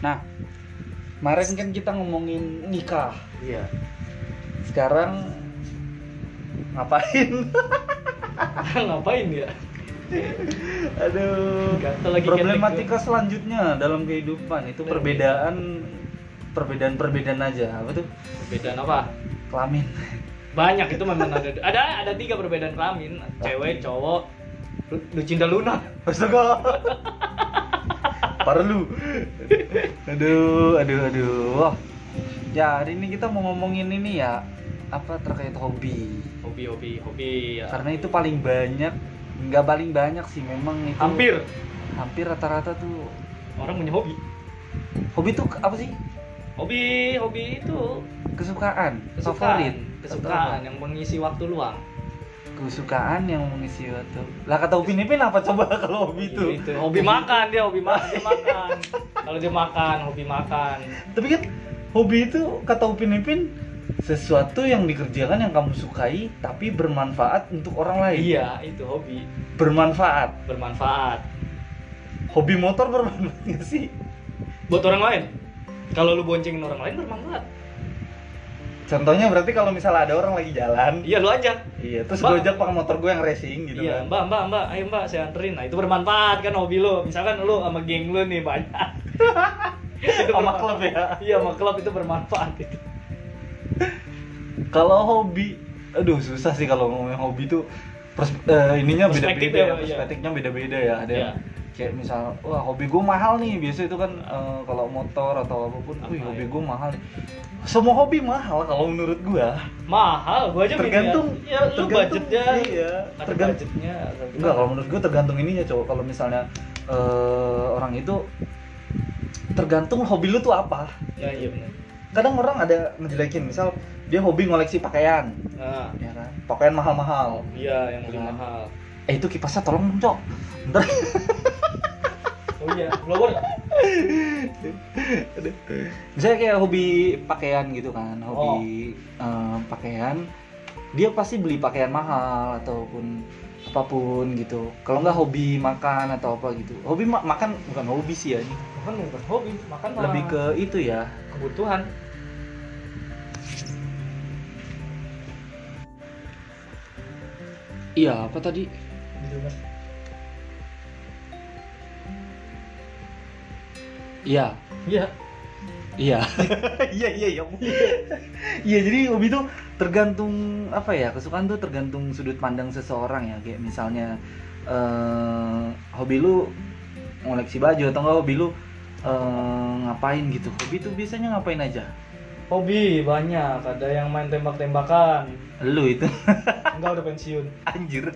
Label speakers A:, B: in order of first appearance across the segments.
A: Nah, kemarin kan kita ngomongin nikah.
B: Iya.
A: Sekarang ngapain?
B: Ngapain ya?
A: Aduh.
B: Gatel lagi
A: Problematika selanjutnya dalam kehidupan itu perbedaan perbedaan-perbedaan aja apa tuh
B: Perbedaan apa?
A: kelamin
B: Banyak itu memang ada ada ada tiga perbedaan kelamin, cewek, cowok, lu, lu cinta Luna.
A: astaga parlu aduh aduh aduh Wah. ya hari ini kita mau ngomongin ini ya apa terkait hobi
B: Hobi hobi hobi. Ya.
A: karena itu paling banyak nggak paling banyak sih memang itu
B: Hampir
A: hampir rata-rata tuh
B: orang punya hobi.
A: hobi tuh apa sih
B: Hobi hobi itu
A: kesukaan, favorit
B: kesukaan, kesukaan yang mengisi waktu luang.
A: kesukaan yang mengisi waktu lah kata Upin Ipin apa coba kalau hobi itu
B: Gitu. Hobi makan dia hobi makan dia makan. Kalau dia makan hobi makan.
A: tapi kan hobi itu kata Upin Ipin sesuatu yang dikerjakan yang kamu sukai tapi bermanfaat untuk orang lain
B: Iya itu hobi
A: bermanfaat
B: bermanfaat.
A: hobi motor bermanfaat nggak sih
B: buat orang lain kalau lu boncengin orang lain bermanfaat
A: contohnya berarti kalau misalnya ada orang lagi jalan
B: iya lu aja
A: iya terus
B: Mbak.
A: gue ajak pakai motor gue yang racing gitu kan
B: iya mbak mbak mbak ayo mbak saya anterin nah itu bermanfaat kan hobi lu misalkan lu sama geng lu nih banyak itu
A: sama
B: bermanfaat.
A: klub ya
B: iya sama klub itu bermanfaat itu
A: kalau hobi aduh susah sih kalau ngomongin hobi tuh pers- eh, ininya
B: Perspektif
A: beda-beda
B: ya,
A: ya
B: Pak, iya.
A: perspektifnya beda-beda ya ada
B: Iya.
A: yang kayak misal wah hobi gue mahal nih biasanya itu kan eh, kalau motor atau apapun wih
B: Apa
A: hobi
B: ya?
A: gue mahal nih semua hobi mahal kalau menurut gue
B: mahal gua aja punya.
A: tergantung
B: ya lu
A: tergantung-
B: budgetnya
A: iya
B: ada
A: tergantung
B: budgetnya ada
A: enggak kalau menurut gue tergantung ininya cowok kalau misalnya eh, orang itu tergantung hobi lu tuh apa
B: ya iya benar
A: kadang orang ada ngejelekin misal dia hobi ngoleksi pakaian
B: nah
A: ya kan pakaian mahal-mahal
B: iya yang beli
A: Nah.
B: mahal
A: Eh itu kipasnya tolong dong, Cok. Bentar.
B: oh iya blower
A: Misalnya kayak hobi pakaian gitu kan, hobi eh, pakaian. Dia pasti beli pakaian mahal ataupun apapun gitu. Kalau nggak hobi makan atau apa gitu. Hobi ma- makan bukan hobi sih ya ini.
B: makan bukan hobi makan mah
A: Lebih ke itu ya.
B: kebutuhan
A: Iya, apa tadi?
B: gitu kan
A: Iya.
B: iya
A: Iya. Iya, iya, iya. Iya, jadi hobi tuh tergantung apa ya? Kesukaan tuh tergantung sudut pandang seseorang ya. Kayak misalnya eh hobi lu ngoleksi baju atau enggak hobi lu eh, ngapain gitu. Hobi tuh biasanya ngapain aja?
B: Hobi banyak, ada yang main tembak-tembakan.
A: Lu itu
B: Enggak udah pensiun.
A: anjir.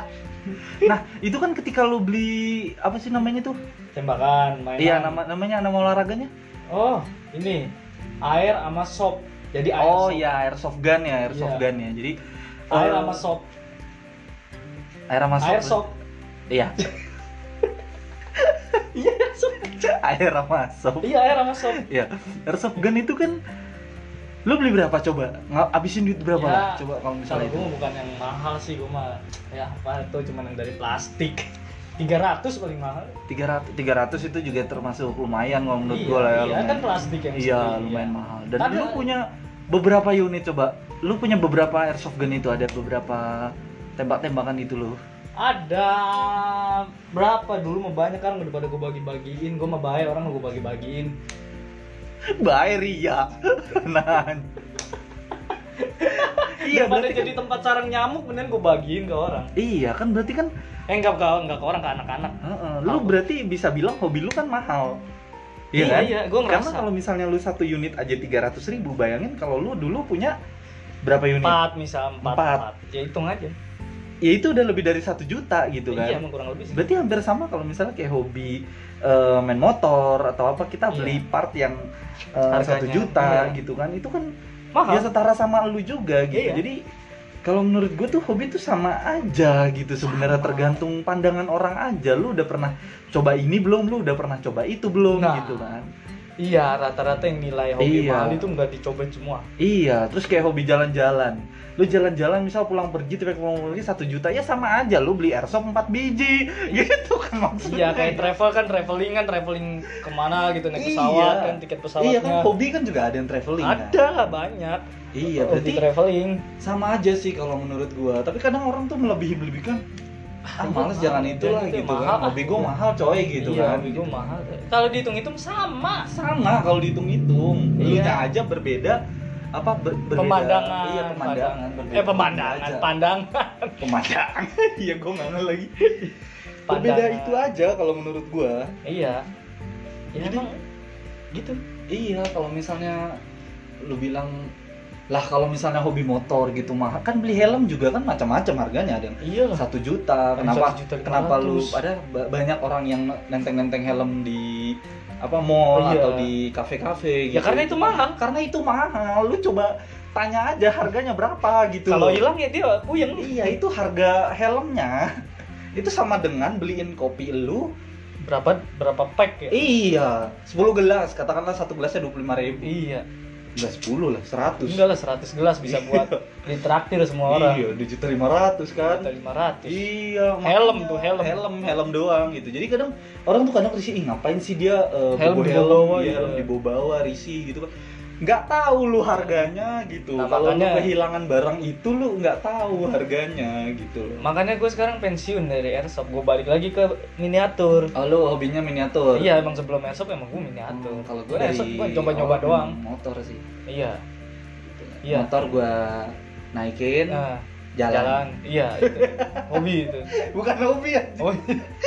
A: nah, itu kan ketika lu beli apa sih namanya tuh?
B: Tembakan, main.
A: Iya, nama namanya nama olahraganya?
B: Oh, ini air sama sop. Jadi air
A: oh
B: sop.
A: iya, airsoft gun ya, airsoft
B: Iya.
A: gun ya. Jadi
B: Air
A: eh,
B: sama sop.
A: air sama ya?
B: Air
A: soft.
B: sop.
A: Iya.
B: Iya, sop.
A: air sama sop
B: Iya, air sama sop.
A: ya airsoft gun itu kan lu beli berapa coba nggak habisin duit berapa
B: Ya,
A: lah coba kalau
B: Misalnya
A: misalnya itu
B: gue bukan yang mahal sih, gue mah ya apa itu cuman yang dari plastik. 300 paling mahal.
A: 300 300 itu juga termasuk lumayan kalau menurut
B: iya,
A: gue lah ya
B: iya,
A: lumayan
B: kan plastik yang
A: iya
B: sendiri,
A: lumayan mahal dan
B: Ada-
A: lu punya beberapa unit coba lu punya beberapa airsoft gun itu ada beberapa tembak-tembakan itu lo
B: ada berapa dulu mah banyak kan daripada gue bagi-bagiin gue mah bayar orang gue bagi-bagiin
A: bye Ria iya. nah iya
B: daripada
A: berarti
B: jadi tempat sarang nyamuk mendingan gue bagiin ke orang
A: iya kan berarti kan
B: eh enggak ke enggak ke orang ke anak-anak
A: Heeh, lu berarti bisa bilang hobi lu kan mahal. Iya
B: Iya,
A: kan?
B: iya, gua ngerasa.
A: Karena kalau misalnya lu satu unit aja 300 ribu, bayangin kalau lu dulu punya berapa unit?
B: empat misal empat,
A: Empat.
B: empat. ya hitung aja
A: Ya itu udah lebih dari satu juta gitu
B: iya
A: kan.
B: emang kurang lebih sih
A: Berarti hampir sama kalau misalnya kayak hobi eh, main motor atau apa kita
B: Iya.
A: beli part yang eh,
B: Harganya,
A: satu juta
B: iya.
A: gitu kan. Itu kan
B: mahal
A: ya setara sama lu juga gitu.
B: Iya.
A: Jadi kalau menurut gue tuh hobi tuh sama aja gitu sebenarnya
B: Sama.
A: tergantung pandangan orang aja. Lu udah pernah coba ini belum? Lu udah pernah coba itu belum
B: Nah.
A: gitu kan.
B: Iya, rata-rata yang nilai hobi
A: Iya.
B: mahal itu nggak dicobain semua.
A: Iya, terus kayak hobi jalan-jalan. Lu jalan-jalan misal pulang pergi, tipe pulang pergi satu juta, ya sama aja lu beli airsoft 4 biji. Gitu kan maksudnya.
B: Iya, kayak travel kan traveling kan traveling kemana gitu
A: Iya.
B: naik pesawat kan tiket pesawatnya.
A: Iya kan hobi kan juga ada yang traveling. kan?
B: Ada banyak.
A: Iya,
B: Hobi
A: berarti
B: traveling.
A: sama aja sih kalau menurut gua. Tapi kadang orang tuh melebih-melebihkan. Ah,
B: itu
A: males
B: mahal.
A: jangan itu lah
B: Jangan itu
A: gitu
B: mahal,
A: kan.
B: ah.
A: Hobi gua mahal coy gitu
B: iya,
A: kan.
B: hobi gua mahal. Kalau dihitung-hitung sama.
A: Sama kalau dihitung-hitung.
B: Iya.
A: Elunya aja berbeda apa ber- berbeda
B: Pemandangan.
A: iya pemandangan
B: pandang-
A: berbeda.
B: Eh pemandangan,
A: aja.
B: pandangan.
A: pemandangan iya gue ngangel lagi beda
B: Pandangan.
A: itu aja kalau menurut gua
B: Iya. Ya
A: Jadi-
B: emang gitu.
A: iya kalau misalnya lu bilang lah kalau misalnya hobi motor gitu mah kan beli helm juga kan macam-macam harganya ada yang
B: Iya lah.
A: satu juta kenapa
B: 1 juta
A: kenapa lu
B: 500.
A: ada ba- banyak orang yang nenteng-nenteng helm di apa mall
B: Iya.
A: atau di kafe-kafe gitu.
B: Ya karena itu mahal.
A: karena itu mahal lu coba tanya aja harganya berapa gitu
B: Kalau
A: loh.
B: hilang ya dia puyeng.
A: Iya itu harga helmnya itu sama dengan beliin kopi lu
B: Berapa berapa pack ya?
A: iya 10 gelas katakanlah satu gelasnya 25.000 ribu
B: Iya.
A: enggak 10 lah 100
B: Enggak lah 100 gelas bisa buat ditraktir semua orang.
A: iya 2 juta 500 kan
B: Atau 500.
A: iya
B: Helm
A: makanya.
B: tuh, helm.
A: helm helm doang gitu jadi kadang orang tuh kadang risih "Ih, ngapain sih dia eh,
B: Helm
A: bobo
B: dibawa-bawa,
A: iya,
B: iya.
A: helm dibawa bawa risih gitu kan nggak tahu lu harganya gitu
B: Nah,
A: kalau lu
B: makanya-
A: kehilangan barang itu lu nggak tahu harganya gitu loh
B: Makanya gue sekarang pensiun dari airsoft, gue balik lagi ke miniatur.
A: Oh, lu hobinya miniatur?
B: Iya, emang sebelum airsoft emang gue miniatur.
A: Hmm, kalau gue
B: Nah,
A: dari
B: esok gua coba-coba
A: orang
B: doang.
A: Motor sih.
B: Iya.
A: Gitu.
B: Iya.
A: Motor gue naikin,
B: Nah,
A: jalan.
B: jalan. Iya, itu. Hobi itu.
A: Bukan hobi ya.
B: Oh,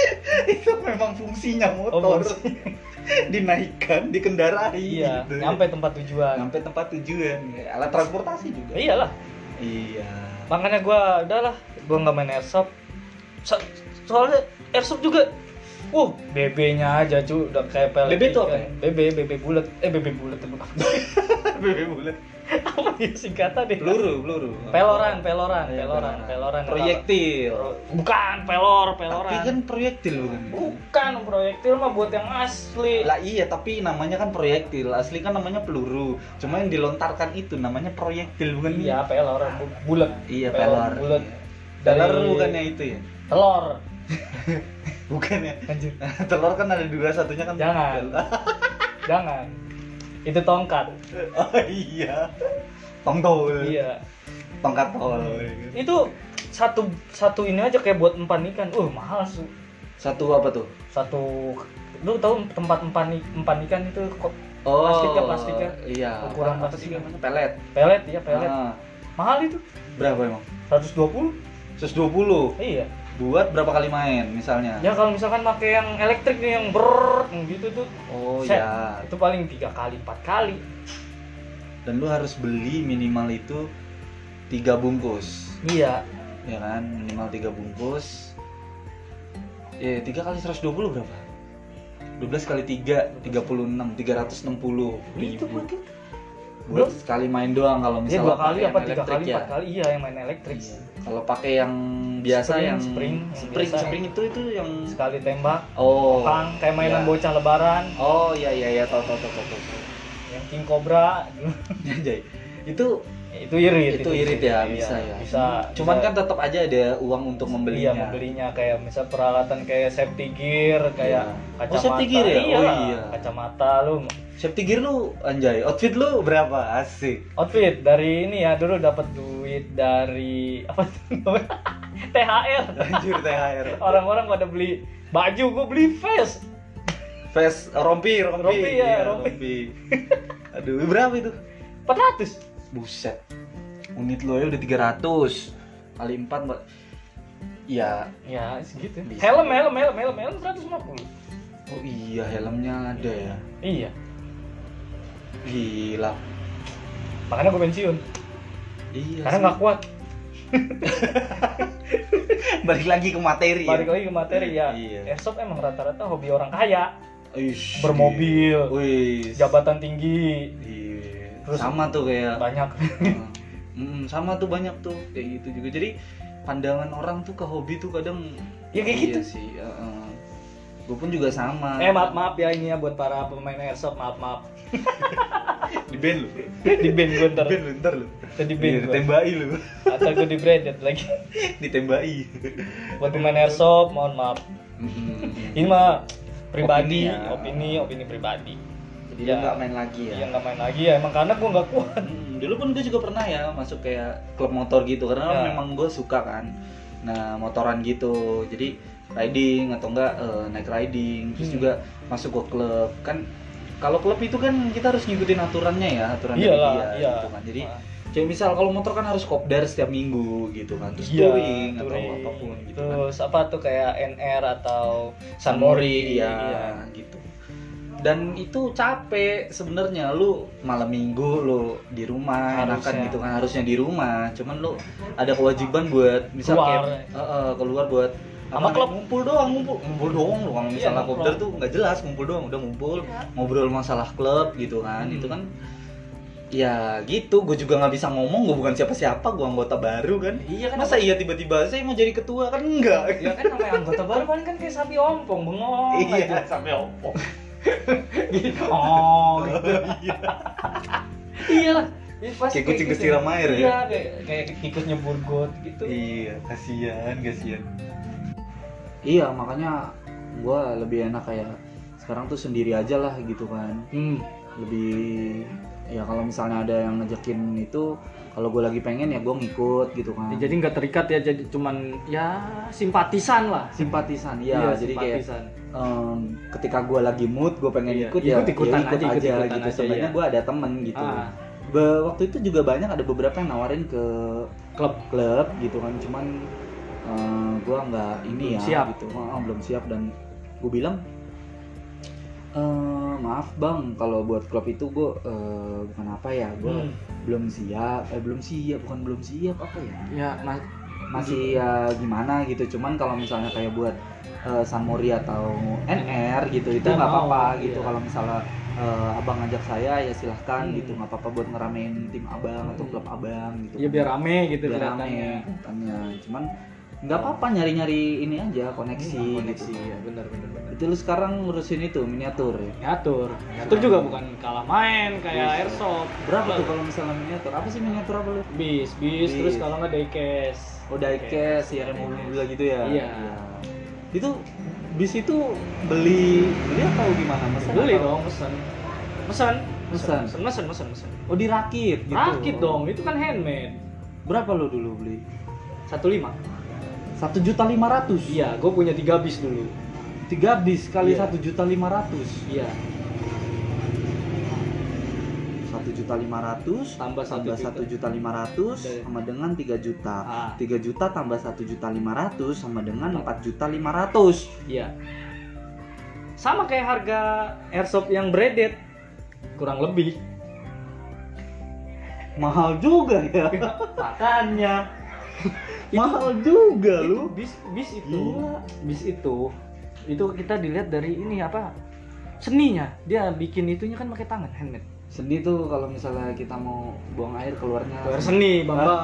A: Itu memang fungsinya motor.
B: Oh, fungsi.
A: Dinaikkan, dikendarai.
B: iya,
A: gitu.
B: nyampe tempat tujuan.
A: Nyampe tempat tujuan. Ya, Alat transportasi juga.
B: Iyalah.
A: Iya.
B: Makanya gue udahlah, gue nggak main airsoft. So- soalnya airsoft juga Wuh, BB-nya aja cu, udah kayak pelet
A: BB itu apa ya?
B: ikan. BB, BB bulat. Eh, BB bulat apa?
A: Bebe bulat.
B: apa ya singkatan deh?
A: Peluru, peluru.
B: Peloran, peloran,
A: Iya,
B: peloran, peloran.
A: Proyektil.
B: Bukan pelor, peloran.
A: Tapi kan proyektil bukan?
B: Bukan proyektil mah buat yang asli.
A: Lah iya, tapi namanya kan proyektil. Asli kan namanya peluru. Cuma yang dilontarkan itu namanya proyektil bukan?
B: Iya, pelor, bu- bulat.
A: Iya,
B: Pelor,
A: pelor.
B: bulat.
A: Pelor
B: Dari-
A: bukannya itu ya?
B: Telor.
A: Bukan ya.
B: Anjir.
A: telur kan ada dua, satunya kan
B: Jangan. Jangan. Itu tongkat.
A: oh iya. Tongtol.
B: Iya.
A: Tongkat tol. ya kan?
B: Itu satu satu ini aja kayak buat empan ikan. Uh, mahal su.
A: Satu apa tuh?
B: Satu lu tahu tempat empan i- empan ikan itu kok
A: Oh,
B: Plastiknya, plastiknya.
A: Iya.
B: Ukuran
A: apa sih
B: plastiknya.
A: namanya? Pelet.
B: pelet ya pelet.
A: Ah,
B: Mahal itu.
A: berapa emang?
B: 120?
A: 120
B: Iya.
A: buat berapa kali main misalnya?
B: Ya kalau misalkan pakai yang elektrik nih yang ber gitu tuh
A: Oh
B: Set.
A: ya.
B: itu paling tiga kali empat kali
A: Dan lu harus beli minimal itu tiga bungkus.
B: iya
A: ya kan minimal tiga bungkus ya tiga kali 120 berapa 12 kali 3 36 360
B: itu
A: ribu
B: mungkin
A: buat sekali main doang kalau misalnya
B: dia dua kali
A: pakai yang
B: apa tiga
A: elektrik ya?
B: kali empat kali iya yang main elektrik
A: Iya. kalau pakai yang biasa
B: Spring,
A: yang
B: spring, yang
A: spring
B: biasa.
A: spring itu itu yang
B: sekali tembak
A: oh
B: pang kayak mainan
A: iya.
B: bocah lebaran
A: oh iya iya iya tau tau tau tau tau, tau
B: yang king cobra gitu.
A: Anjay. itu
B: itu irit
A: itu irit ya
B: Iya,
A: bisa ya
B: bisa
A: cuman
B: bisa-
A: kan tetap aja ada uang untuk
B: iya
A: membelinya
B: membelinya kayak misal peralatan kayak safety gear kayak
A: Iya. Oh,
B: kacamata
A: safety gear ya?
B: iya,
A: Oh,
B: lah.
A: iya.
B: kacamata lu
A: safety gear lu anjay outfit lu berapa asik
B: outfit dari ini ya dulu dapat duit dari apa tuh namanya? THR
A: Anjir THR.
B: orang-orang pada beli baju gue beli vest
A: Face rompi, rompi.
B: Rompi, ya,
A: Iya,
B: rompi.
A: Aduh, berapa itu?
B: 400
A: Buset. Unit lo ya udah 300 kali 4, Mbak. Ya,
B: ya segitu
A: Bisa.
B: helm helm helm helm helm 150
A: oh iya helmnya ada ya.
B: iya
A: Gila.
B: makanya gue pensiun
A: Iya.
B: karena
A: sih.
B: nggak kuat
A: balik lagi ke materi.
B: balik lagi ke materi ya
A: Iya.
B: airsoft emang rata-rata hobi orang kaya
A: Ish, iya.
B: bermobil
A: Wih.
B: jabatan tinggi
A: Iya.
B: Terus-
A: sama tuh kayak
B: banyak
A: Mm, sama tuh banyak tuh kayak gitu juga. Jadi pandangan orang tuh ke hobi tuh kadang
B: ya kayak
A: Iya
B: gitu
A: sih. eh, eh. gue pun juga sama
C: Eh maaf maaf ya ini ya buat para pemain airsoft maaf maaf
D: di band lu
C: di band gue
D: di
C: ntar
D: band lu ntar lu
C: Ntar di
D: Iya,
C: band gue
D: ditembaki lu
C: atau gue di branded lagi
D: ditembaki
C: buat pemain airsoft mohon maaf
A: Mm-mm.
C: ini mah pribadi
A: Opini ya.
C: opini opini pribadi
A: jadi
C: Ya.
A: dia nggak main lagi ya
C: yang nggak main lagi ya emang karena gue nggak kuat
A: Hmm, dulu pun gue juga pernah ya masuk kayak klub motor gitu karena
C: Ya.
A: memang gue suka kan nah motoran gitu jadi riding atau enggak eh, naik riding terus
C: Hmm.
A: juga masuk ke klub kan kalau klub itu kan kita harus ngikutin aturannya ya aturan dari
C: Iyalah,
A: dia
C: iya.
A: gitu kan jadi kayak misal kalau motor kan harus kopdar setiap minggu gitu kan terus touring
C: Iya,
A: atau
C: touring.
A: apapun gitu kan
C: terus apa tuh kayak NR atau
A: San Mori
C: iya,
A: ya gitu dan itu capek sebenarnya lu malam minggu lu di rumah
C: Harusnya.
A: enakan gitu kan harusnya di rumah cuman lu ada kewajiban buat misal
C: Keluar.
A: kayak eh, eh, keluar buat
C: Sama
A: apa,
C: klub.
A: ngumpul doang ngumpul ngumpul doang lu kalau
C: Iya,
A: misalnya
C: ngumpul.
A: kopdar tuh nggak jelas ngumpul doang udah ngumpul ngobrol masalah klub gitu kan
C: Hmm.
A: itu kan ya gitu gue juga nggak bisa ngomong gue bukan siapa-siapa gue anggota baru kan
C: iya kan
A: masa iya tiba-tiba saya mau jadi ketua kan enggak
C: ya kan namanya anggota baru paling kan kayak sapi ompong bengong aja.
A: iya sampai opong
B: Iya.
C: oh gitu. iya lah Ya, pasti
A: Kayak kucing kesiram air ya?
C: iya kayak kayak tikus nyebur got gitu
D: iya kasihan kasihan
A: Iya makanya gua lebih enak kayak sekarang tuh sendiri aja lah gitu kan
C: hmm.
A: lebih ya kalau misalnya ada yang ngejekin itu kalau gue lagi pengen ya gue ngikut gitu kan
B: Ya, jadi nggak terikat ya jadi cuman ya simpatisan lah Iya,
A: simpatisan
C: Iya,
A: ya jadi kayak
B: simpatisan.
A: em, ketika gua lagi mood gue pengen
B: Iya,
A: ikut ya ya ikut
B: ikut-ikutan aja,
A: aja,
B: ikut-ikutan
A: gitu
B: aja,
A: sebenarnya
B: iya.
A: gua ada temen gitu
B: Ah.
A: Be- waktu itu juga banyak ada beberapa yang nawarin ke
B: klub
A: klub gitu kan cuman eh, gua nggak ini
B: Belum
A: ya
B: siap.
A: gitu Ah, belum siap dan gue bilang "Eh, maaf bang kalau buat klub itu gue bukan apa ya
C: Hmm.
A: gue belum siap eh belum siap bukan belum siap apa ya
B: ya mas
A: masih ya gimana gitu cuman kalau misalnya kayak buat eh, Sanmori atau NR gitu itu
C: Dia
A: nggak
C: mau,
A: apa-apa gitu
C: iya.
A: kalau misalnya eh, abang ngajak saya ya silahkan
C: Hmm.
A: gitu nggak apa-apa buat ngeramein tim abang atau
B: Hmm.
A: klub abang gitu
C: Iya,
B: ya biar rame gitu
A: biar rame
B: kelihatannya.
A: ya kelihatannya. cuman nggak apa-apa nyari-nyari ini aja
C: gitu.
A: koneksi
B: Iya,
A: koneksi
B: koneksi ya benar benar benar
A: itu lu sekarang ngurusin itu miniatur ya
B: ngatur ngatur juga bukan kalah main kayak airsoft
A: berapa tuh kalau misalnya miniatur apa sih miniatur apa lu
B: bis bis
A: Bis.
B: terus kalau nggak diecast
A: oh diecast ya kayak mobil gitu ya
B: Iya.
A: itu bis itu beli beli atau gimana Mesen
B: beli
A: atau-
B: dong pesan pesan
A: Pesan.
B: pesan pesan pesan pesan
A: oh dirakit gitu
B: rakit dong itu kan handmade
A: berapa lu dulu beli
B: satu lima
A: satu juta lima ratus
B: iya gue punya tiga bis dulu
A: tiga bis kali
B: Iya.
A: satu juta lima ratus
B: iya
A: satu juta lima ratus
B: Tambah satu
A: tambah
B: juta.
A: satu juta lima ratus
B: Dari-
A: sama dengan tiga juta
B: ah
A: 3 juta tambah satu juta lima ratus sama dengan empat juta lima ratus
B: iya sama kayak harga airsoft yang braided kurang lebih
A: mahal juga ya
B: makanya
A: mahal juga
B: itu
A: lu
B: bis bis itu
A: Gila.
B: bis itu itu kita dilihat dari ini apa seninya dia bikin itunya kan pakai tangan handmade
A: seni tuh kalau misalnya kita mau buang air keluarnya
B: luar seni bang bang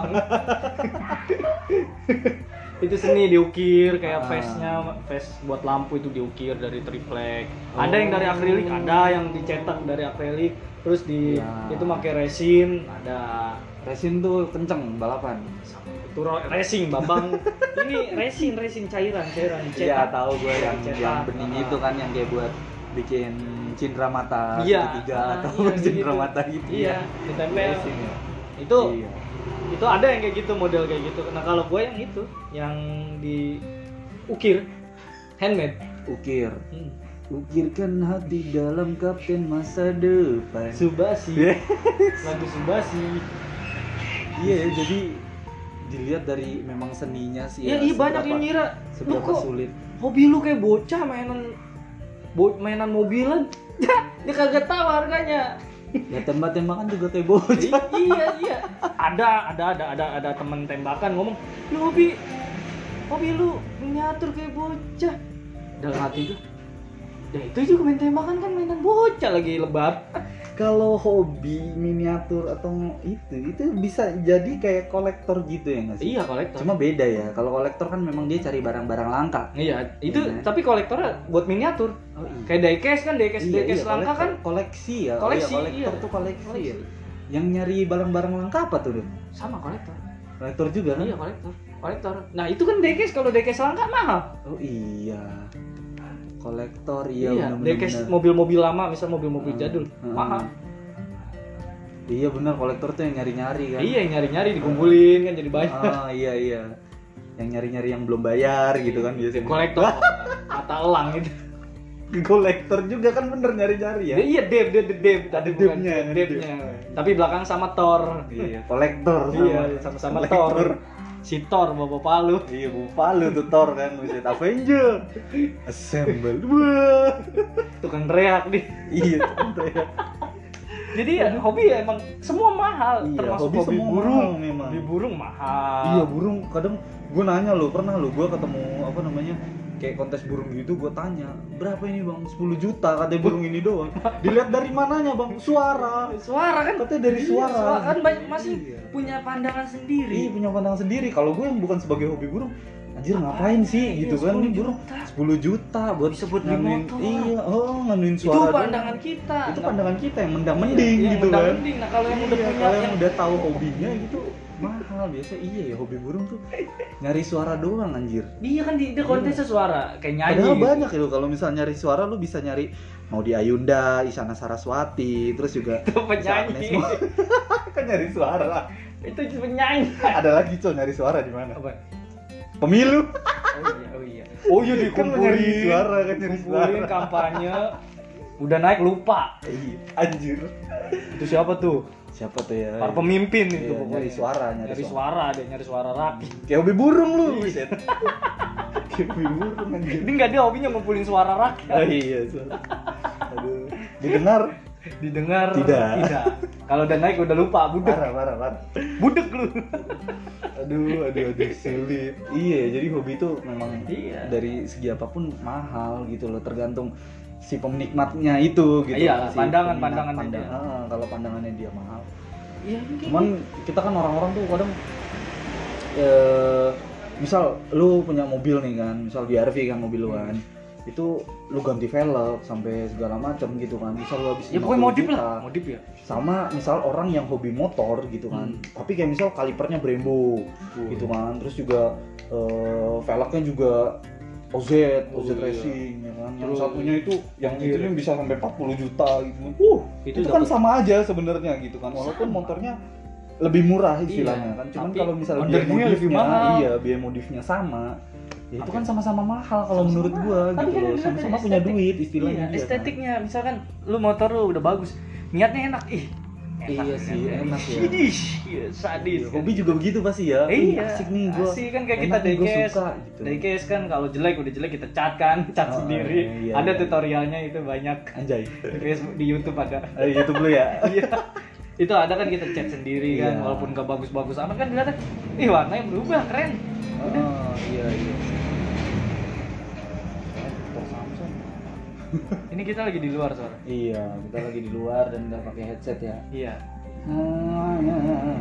B: itu seni diukir kayak
A: Ah.
B: face nya face buat lampu itu diukir dari triplek
A: Oh.
B: ada yang dari akrilik ada yang dicetak dari akrilik terus di
A: Ya.
B: itu pakai resin ada
A: resin tuh kenceng balapan
B: itu ro- racing babang ini resin resin cairan cairan
A: iya
B: dicetak
A: tahu gue yang
B: Cetak.
A: yang bening
B: Ah.
A: itu kan yang kayak buat bikin cindera mata
B: Iya.
A: segitiga
B: Ah,
A: atau
B: iya,
A: cindera
B: gitu.
A: mata gitu ya.
B: iya ditempel
A: Resin ya.
B: Ah. itu
A: Iya.
B: itu ada yang kayak gitu model kayak gitu nah kalau gue yang itu yang di ukir handmade
A: ukir
B: Hmm.
A: ukirkan hati dalam kapten masa depan
B: subasi lagu subasi
A: Iya ya, jadi dilihat dari memang seninya sih.
B: ya, iya banyak yang
A: seberapa-
B: ngira lu
A: Seberapa
B: kok
A: sulit?
B: hobi lu kayak bocah mainan bo mainan mobilan dia kagak tahu harganya
A: Ya tembak-tembakan juga kayak bocah.
B: I- iya iya ada ada ada ada ada teman tembakan ngomong lu hobi hobi lu miniatur kayak bocah dalam hati itu ya itu juga main tembakan kan mainan bocah lagi lebat
A: kalau hobi miniatur atau itu itu bisa jadi kayak kolektor gitu ya nggak sih?
B: Iya kolektor.
A: Cuma beda ya. Kalau kolektor kan memang dia cari barang-barang langka.
B: Iya, itu
A: Iya.
B: tapi kolektornya buat miniatur.
A: Oh iya.
B: Kayak diecast kan, diecast diecast langka
A: kolektor-
B: kan
A: koleksi ya. Oh
B: Koleksi,
A: iya, kolektor
B: iya.
A: tuh koleksi,
B: Koleksi.
A: ya. Yang nyari barang-barang langka apa tuh, Dun?
B: sama kolektor.
A: Kolektor juga kan?
B: Iya kolektor, kolektor. Nah itu kan diecast kalau diecast langka mahal.
A: Oh iya. Kolektor iya,
B: iya,
A: benar-benar,
B: diecast
A: benar.
B: mobil-mobil lama, misal
A: Hmm.
B: mobil-mobil jadul,
A: Hmm.
B: mahal.
A: Iya benar kolektor tuh yang nyari-nyari kan.
B: Iya yang nyari-nyari dikumpulin kan jadi banyak.
A: Ah, iya iya. Yang nyari-nyari yang belum bayar gitu kan biasanya.
B: kolektor mata elang gitu.
A: kolektor juga kan bener nyari-nyari ya.
B: Iya deb deb deb deb tadi bukan
A: Debnya,
B: debnya. Tapi belakang sama Thor.
A: Iya, kolektor ya.
B: Iya, sama-sama Thor. Si Thor bawa palu.
A: Iya, Bupa lu tuh Thor kan, buset Avenger. Assemble. Wah.
B: Tukang reak nih.
A: iya, tentu ya.
B: Jadi ya, hobi ya emang semua mahal,
A: Iya,
B: termasuk
A: hobi
B: hobi,
A: semua
B: burung.
A: mahal memang.
B: Hobi burung mahal.
A: Iya, burung kadang gue nanya lo, pernah lo gue ketemu apa namanya? kayak kontes burung gitu gue tanya berapa ini bang 10 juta katanya burung ini doang dilihat dari mananya bang suara
B: Suara kan
A: katanya dari
B: Iya,
A: suara
B: kan banyak masih
A: Iya.
B: punya pandangan
A: Iya
B: sendiri.
A: punya pandangan sendiri. Kalau gue yang bukan sebagai hobi burung, anjir ngapain sih
B: Iya,
A: gitu kan? Ini
B: 10
A: burung
B: juta.
A: 10 juta buat
B: Disebut beli
A: nganuin,
B: motor.
A: iya, oh nganuin
B: Itu
A: suara. doang.
B: pandangan kita.
A: Itu
B: Nah,
A: pandangan kita yang mendang-mending
B: iya,
A: gitu
B: yang
A: kan.
B: mending. Nah, kalau yang
A: Iya,
B: udah punya
A: kalau yang
B: yang
A: udah tahu hobinya gitu mahal biasa iya ya hobi burung tuh nyari suara doang anjir
B: dia kan di, di kontes suara kayak nyanyi.
A: Iya. padahal
B: gitu.
A: banyak ya lo kalau misalnya nyari suara lo bisa nyari mau di Ayunda Isyana Saraswati terus juga
B: Itu penyanyi.
A: Agnes Mo- kan nyari suara
B: Itu penyanyi.
A: ada lagi cowok nyari suara di mana
B: Apa?
A: pemilu
B: Oh iya, oh iya.
A: Oh iya
B: Kan nyari suara,
A: kan nyari
B: Kumpulin kampanye udah naik lupa.
A: Iya, Anjir.
B: Itu siapa tuh?
A: Siapa tuh ya?
B: Para pemimpin itu
A: Iya,
B: pokoknya.
A: nyari suara, nyari
B: nyari
A: suara.
B: suara. dia nyari suara rakyat.
A: Kayak hobi burung lu.
B: Iya,
A: buset. Kayak hobi burung anjir.
B: Ini enggak dia hobinya ngumpulin suara rakyat.
A: Oh iya, suara. Aduh. Didengar
B: Didengar
A: Tidak.
B: Kalau udah naik udah lupa, budek.
A: parah parah parah.
B: Budek lu.
A: Aduh, aduh, aduh sulit. Iya, jadi hobi itu memang
B: Iya.
A: dari segi apapun mahal gitu loh, tergantung si penikmatnya itu gitu.
B: Iya,
A: Si
B: pandangan-
A: peminat-
B: pandangannya
A: pandang-
B: dia.
A: Ah, kalau pandangannya dia mahal.
B: Iya,
A: cuman kita kan orang-orang tuh kadang eh, misal lu punya mobil nih kan misal di RV kan mobil
B: Hmm.
A: lu kan itu lu ganti velg sampai segala macam gitu kan misal lu habis
B: Ya pokoknya
A: 50
B: modif
A: juta.
B: lah, modif ya.
A: sama misal orang yang hobi motor gitu kan
B: Hmm.
A: tapi kayak misal kalipernya Brembo gitu kan terus juga eh, velgnya juga OZ,
B: Oh,
A: OZ
B: iya.
A: Racing ya kan. Yang
B: Terus-
A: satunya itu yang
B: Iya.
A: itu nih bisa sampai 40 juta gitu. Uh, itu,
B: Itu
A: kan
B: dapet-
A: sama aja sebenarnya gitu kan. Walaupun
B: Sama.
A: motornya lebih murah istilahnya
B: Iya,
A: kan. Cuman
B: tapi
A: kalau misalnya biaya
B: undernya lebih
A: modifnya,
B: mahal.
A: iya, biaya modifnya sama. Ya itu
B: Tapi-
A: kan sama-sama mahal kalau
B: Sama-sama
A: menurut gua
B: mahal.
A: gitu loh.
B: Tapi kan yang dilihat
A: Sama-sama
B: dari
A: punya
B: estetik.
A: duit istilahnya
B: iya,
A: dia kan.
B: estetiknya misalkan lu motor lu udah bagus, niatnya enak ih.
A: Iya sih, enak ya.
B: Ish, iya, sadis.
A: Iya, Hobi juga begitu pasti ya. Ih,
B: Iya.
A: Asik nih gua.
B: Asik kan kayak
A: Enak
B: kita
A: nih, gua
B: diecast.
A: suka, gitu.
B: Diecast kan kalau jelek udah jelek kita cat kan, cat
A: Oh,
B: sendiri.
A: iya,
B: ada
A: iya.
B: tutorialnya itu banyak
A: Anjay.
B: di Facebook, di YouTube ada.
A: Eh, YouTube lu ya.
B: Iya. itu ada kan kita cat sendiri
A: Iya.
B: kan walaupun gak bagus-bagus amat kan dilihat ih warnanya berubah keren. Udah.
A: Oh, iya iya.
B: Ini kita lagi di luar soalnya.
A: Iya, kita lagi di luar dan nggak pakai headset ya.
B: Iya.
A: Ah, ya, ya, ya.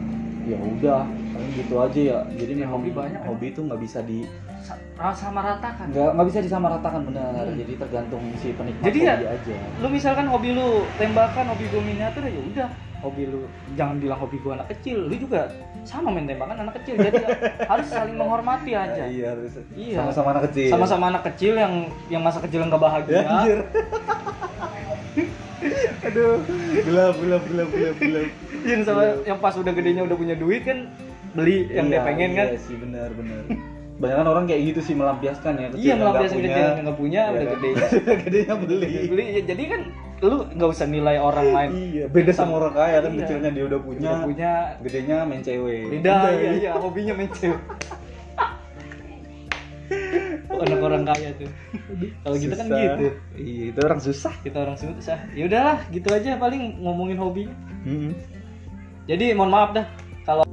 A: Ya udah, paling gitu aja ya. Jadi
B: Ya,
A: memang
B: hobi banyak,
A: hobi itu nggak bisa di
B: Sa- sama ratakan.
A: nggak nggak bisa disamaratakan benar. Jadi tergantung si penikmat
B: Iya. Jadi ya-
A: hobi aja.
B: lu misalkan hobi lu tembakan hobi gue miniatur ya udah hobi lu jangan bilang hobi gue anak kecil lu juga sama main tembakan anak kecil jadi harus saling menghormati aja
A: Ah, iya, harus.
B: Iya.
A: Sama-sama anak kecil.
B: sama-sama anak kecil yang yang masa kecil nggak
A: Ya,
B: bahagia
A: anjir. Aduh, gelap, gelap, gelap, gelap, gelap.
B: yang sama yang pas udah gedenya udah punya duit kan beli yang dia
A: Iya,
B: pengen
A: iya
B: kan
A: sih benar benar banyak orang kayak gitu sih melampiaskan ya kecil
B: iya
A: yang nggak
B: melampiaskan
A: punya.
B: kecil yang nggak punya
A: Iya
B: udah
A: kan?
B: gedenya
A: gedenya beli
B: beli ya, jadi kan lu nggak usah nilai orang lain
A: iya beda sama orang kaya kan
B: Iya.
A: kecilnya dia udah punya,
B: Udah punya
A: gedenya main cewek
B: beda iya iya hobinya main cewek anak orang kaya tuh kalau kita kan
A: Susah.
B: gitu
A: iya itu orang susah
B: kita orang susah ya udahlah gitu aja paling ngomongin hobi
A: Mm-mm.
B: jadi mohon maaf dah kalau